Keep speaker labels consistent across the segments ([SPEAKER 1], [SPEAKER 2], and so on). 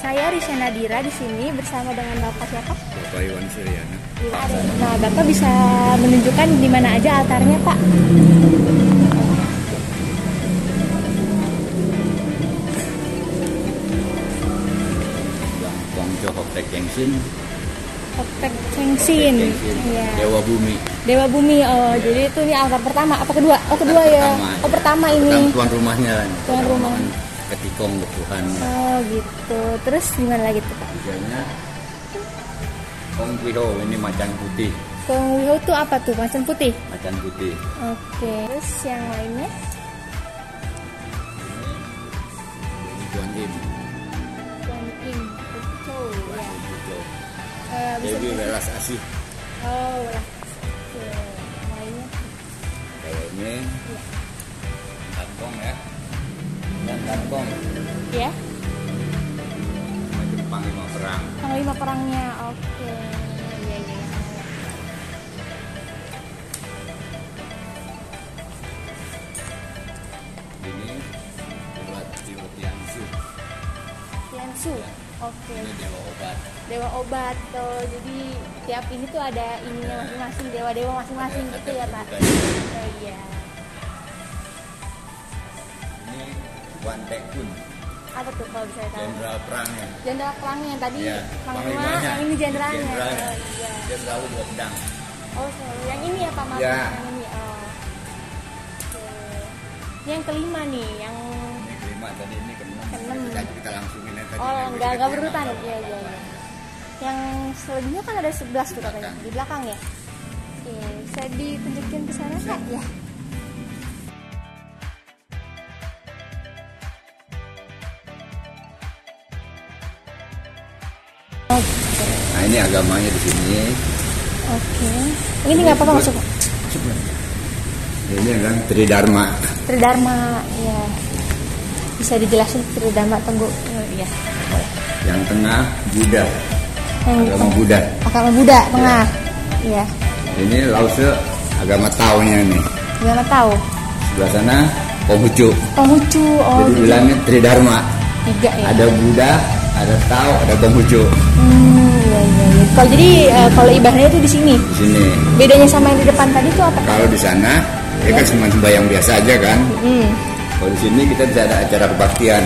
[SPEAKER 1] saya Nadira di sini bersama dengan Bapak siapa?
[SPEAKER 2] Bapak Iwan Suryana.
[SPEAKER 1] Nah, Bapak bisa menunjukkan di mana aja altarnya, Pak?
[SPEAKER 2] Yang Kongco Hoptek Kengsin.
[SPEAKER 1] Koptek
[SPEAKER 2] Hoptek
[SPEAKER 1] Cengsin.
[SPEAKER 2] Kengsin.
[SPEAKER 1] Iya.
[SPEAKER 2] Dewa Bumi.
[SPEAKER 1] Dewa Bumi. Oh, jadi itu nih altar pertama apa kedua? Oh, kedua ya.
[SPEAKER 2] Pertama.
[SPEAKER 1] Oh, pertama
[SPEAKER 2] Pertama
[SPEAKER 1] ini.
[SPEAKER 2] tuan rumahnya kan.
[SPEAKER 1] Tuan rumah.
[SPEAKER 2] Ketikong Betuhan.
[SPEAKER 1] Oh, gitu. Terus gimana lagi tuh, Pak?
[SPEAKER 2] Tiganya. Kong Piro ini macan putih.
[SPEAKER 1] Kong Wiho tuh apa tuh? Macan putih.
[SPEAKER 2] Macan putih.
[SPEAKER 1] Oke. Terus yang lainnya?
[SPEAKER 2] Ini Tuan Im.
[SPEAKER 1] Iya. Yang Kim. Kucou, ya.
[SPEAKER 2] Gitu.
[SPEAKER 1] Eh, bisa
[SPEAKER 2] Dewi Welas Asih.
[SPEAKER 1] Oh, lah. Oke. Lainnya.
[SPEAKER 2] Kalau ini. Kantong ya. Dan kantong.
[SPEAKER 1] Ya.
[SPEAKER 2] Macam panglima perang.
[SPEAKER 1] Panglima perangnya. Oke. Iya, iya. iya.
[SPEAKER 2] Ini. Buat Tiwetiansu.
[SPEAKER 1] Yansu. Oke.
[SPEAKER 2] Ini Dewa Obat.
[SPEAKER 1] dewa obat tuh jadi tiap ini tuh ada ininya masing-masing dewa-dewa masing-masing
[SPEAKER 2] Ada-
[SPEAKER 1] gitu
[SPEAKER 2] ada
[SPEAKER 1] ya pak
[SPEAKER 2] kedudukannya.
[SPEAKER 1] oh, iya
[SPEAKER 2] Ini Wan Tekun,
[SPEAKER 1] apa tuh kalau bisa tahu
[SPEAKER 2] jenderal perangnya.
[SPEAKER 1] jenderal perangnya yang tadi
[SPEAKER 2] Iya,
[SPEAKER 1] panglima
[SPEAKER 2] panglimanya.
[SPEAKER 1] yang ini jenderalnya
[SPEAKER 2] Jenderalnya.
[SPEAKER 1] oh iya
[SPEAKER 2] Dia selalu bawa pedang.
[SPEAKER 1] oh selalu yang ini ya pak Martin
[SPEAKER 2] Iya.
[SPEAKER 1] yang ini oh Oke. Ini yang kelima nih yang
[SPEAKER 2] Ini kelima tadi ini keenam.
[SPEAKER 1] Keenam.
[SPEAKER 2] Tadi kita langsungin aja tadi.
[SPEAKER 1] oh yang
[SPEAKER 2] Ini
[SPEAKER 1] nggak nggak
[SPEAKER 2] kelima.
[SPEAKER 1] berurutan iya iya iya yang selanjutnya kan ada 11 tuh katanya
[SPEAKER 2] Belakang.
[SPEAKER 1] di belakang ya Oke, bisa ditunjukin ke sana kak ya
[SPEAKER 2] Nah ini agamanya di sini.
[SPEAKER 1] Oke. Ini nggak apa-apa masuk.
[SPEAKER 2] Ini kan Tridharma.
[SPEAKER 1] Tridharma, ya. Bisa dijelasin Tridharma tunggu. Iya.
[SPEAKER 2] Yang tengah Buddha,
[SPEAKER 1] Yang
[SPEAKER 2] agama Buddha.
[SPEAKER 1] agama Buddha tengah. Iya.
[SPEAKER 2] Ini Lause agama Tao-nya nih.
[SPEAKER 1] Gimana tahu?
[SPEAKER 2] Sebelah sana Konghucu.
[SPEAKER 1] Konghucu, oh
[SPEAKER 2] Jadi
[SPEAKER 1] gitu.
[SPEAKER 2] bilangnya Tridharma.
[SPEAKER 1] tiga ya.
[SPEAKER 2] Ada Buddha, ada Tao, ada Konghucu
[SPEAKER 1] Hmm, iya iya. iya. Kalau jadi eh, kalau ibadahnya tuh di sini.
[SPEAKER 2] di sini.
[SPEAKER 1] Bedanya sama yang di depan tadi tuh apa?
[SPEAKER 2] Kalau di sana, ya kan cuma sembahyang biasa aja kan.
[SPEAKER 1] Hmm.
[SPEAKER 2] Kalau di sini kita bisa ada acara kebaktian.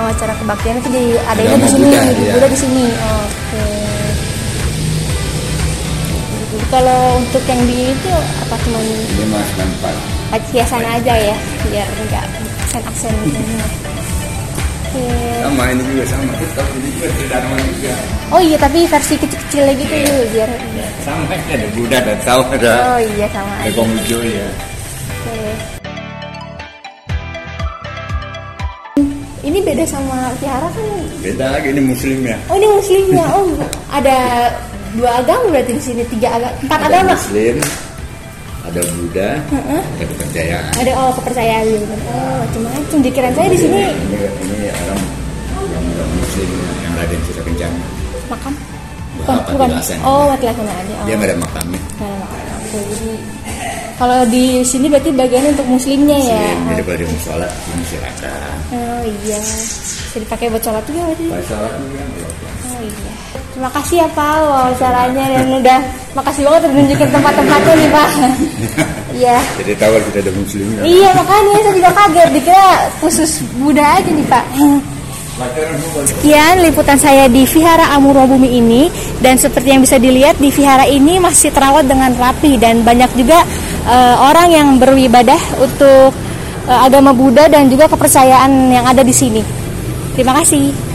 [SPEAKER 1] Oh, acara kebaktian itu di adanya
[SPEAKER 2] Agama
[SPEAKER 1] di sini,
[SPEAKER 2] Buddha,
[SPEAKER 1] di
[SPEAKER 2] iya.
[SPEAKER 1] Buddha di sini. Oke. Jadi Kalau untuk yang di itu apa teman
[SPEAKER 2] Ini mas tempat.
[SPEAKER 1] hiasan aja ya biar enggak aksen aksen gitu Oke.
[SPEAKER 2] Sama ini juga sama. Kita ini juga Tridharma juga.
[SPEAKER 1] oh iya tapi versi kecil kecil gitu
[SPEAKER 2] Iya.
[SPEAKER 1] ya biar
[SPEAKER 2] Sama ini ada Buddha ada Tao ada
[SPEAKER 1] oh iya sama
[SPEAKER 2] ada
[SPEAKER 1] aja
[SPEAKER 2] Konghucu ya.
[SPEAKER 1] Oke. ini beda sama Tiara kan
[SPEAKER 2] Beda lagi ini Muslim ya.
[SPEAKER 1] oh ini muslimnya oh ada dua agama berarti di sini tiga agama empat
[SPEAKER 2] Ada
[SPEAKER 1] agama
[SPEAKER 2] Muslim, ada Buddha, ada kepercayaan.
[SPEAKER 1] ada oh kepercayaan gitu kan. oh macam-macam dikira saya Eh, di sini
[SPEAKER 2] Ini ini orang yang orang Muslim yang Raden Sisa Kencang.
[SPEAKER 1] makam
[SPEAKER 2] Wah,
[SPEAKER 1] Bukan, bukan.
[SPEAKER 2] Patilasan.
[SPEAKER 1] oh Patilasan aja oh.
[SPEAKER 2] Dia nggak ada ya. makamnya.
[SPEAKER 1] Nah, oke, jadi kalau di sini berarti bagiannya untuk muslimnya ya.
[SPEAKER 2] Muslim Ini daripada musola di masyarakat.
[SPEAKER 1] Oh iya. Bisa dipakai buat sholat juga berarti.
[SPEAKER 2] Pada sholat juga nggak apa-apa.
[SPEAKER 1] Oh iya. Terima kasih ya Pak wawancaranya dan udah makasih banget udah nunjukin tempat-tempatnya nih Pak. Iya.
[SPEAKER 2] Jadi tahu kalau kita ada Muslim. ya.
[SPEAKER 1] Iya makanya saya juga kaget dikira khusus Buddha aja nih Pak.
[SPEAKER 2] Makanan bukan.
[SPEAKER 1] Sekian liputan saya di Vihara Amuro Bumi ini dan seperti yang bisa dilihat di vihara ini masih terawat dengan rapi dan banyak juga eh, orang yang beribadah untuk eh, agama Buddha dan juga kepercayaan yang ada di sini. Terima kasih.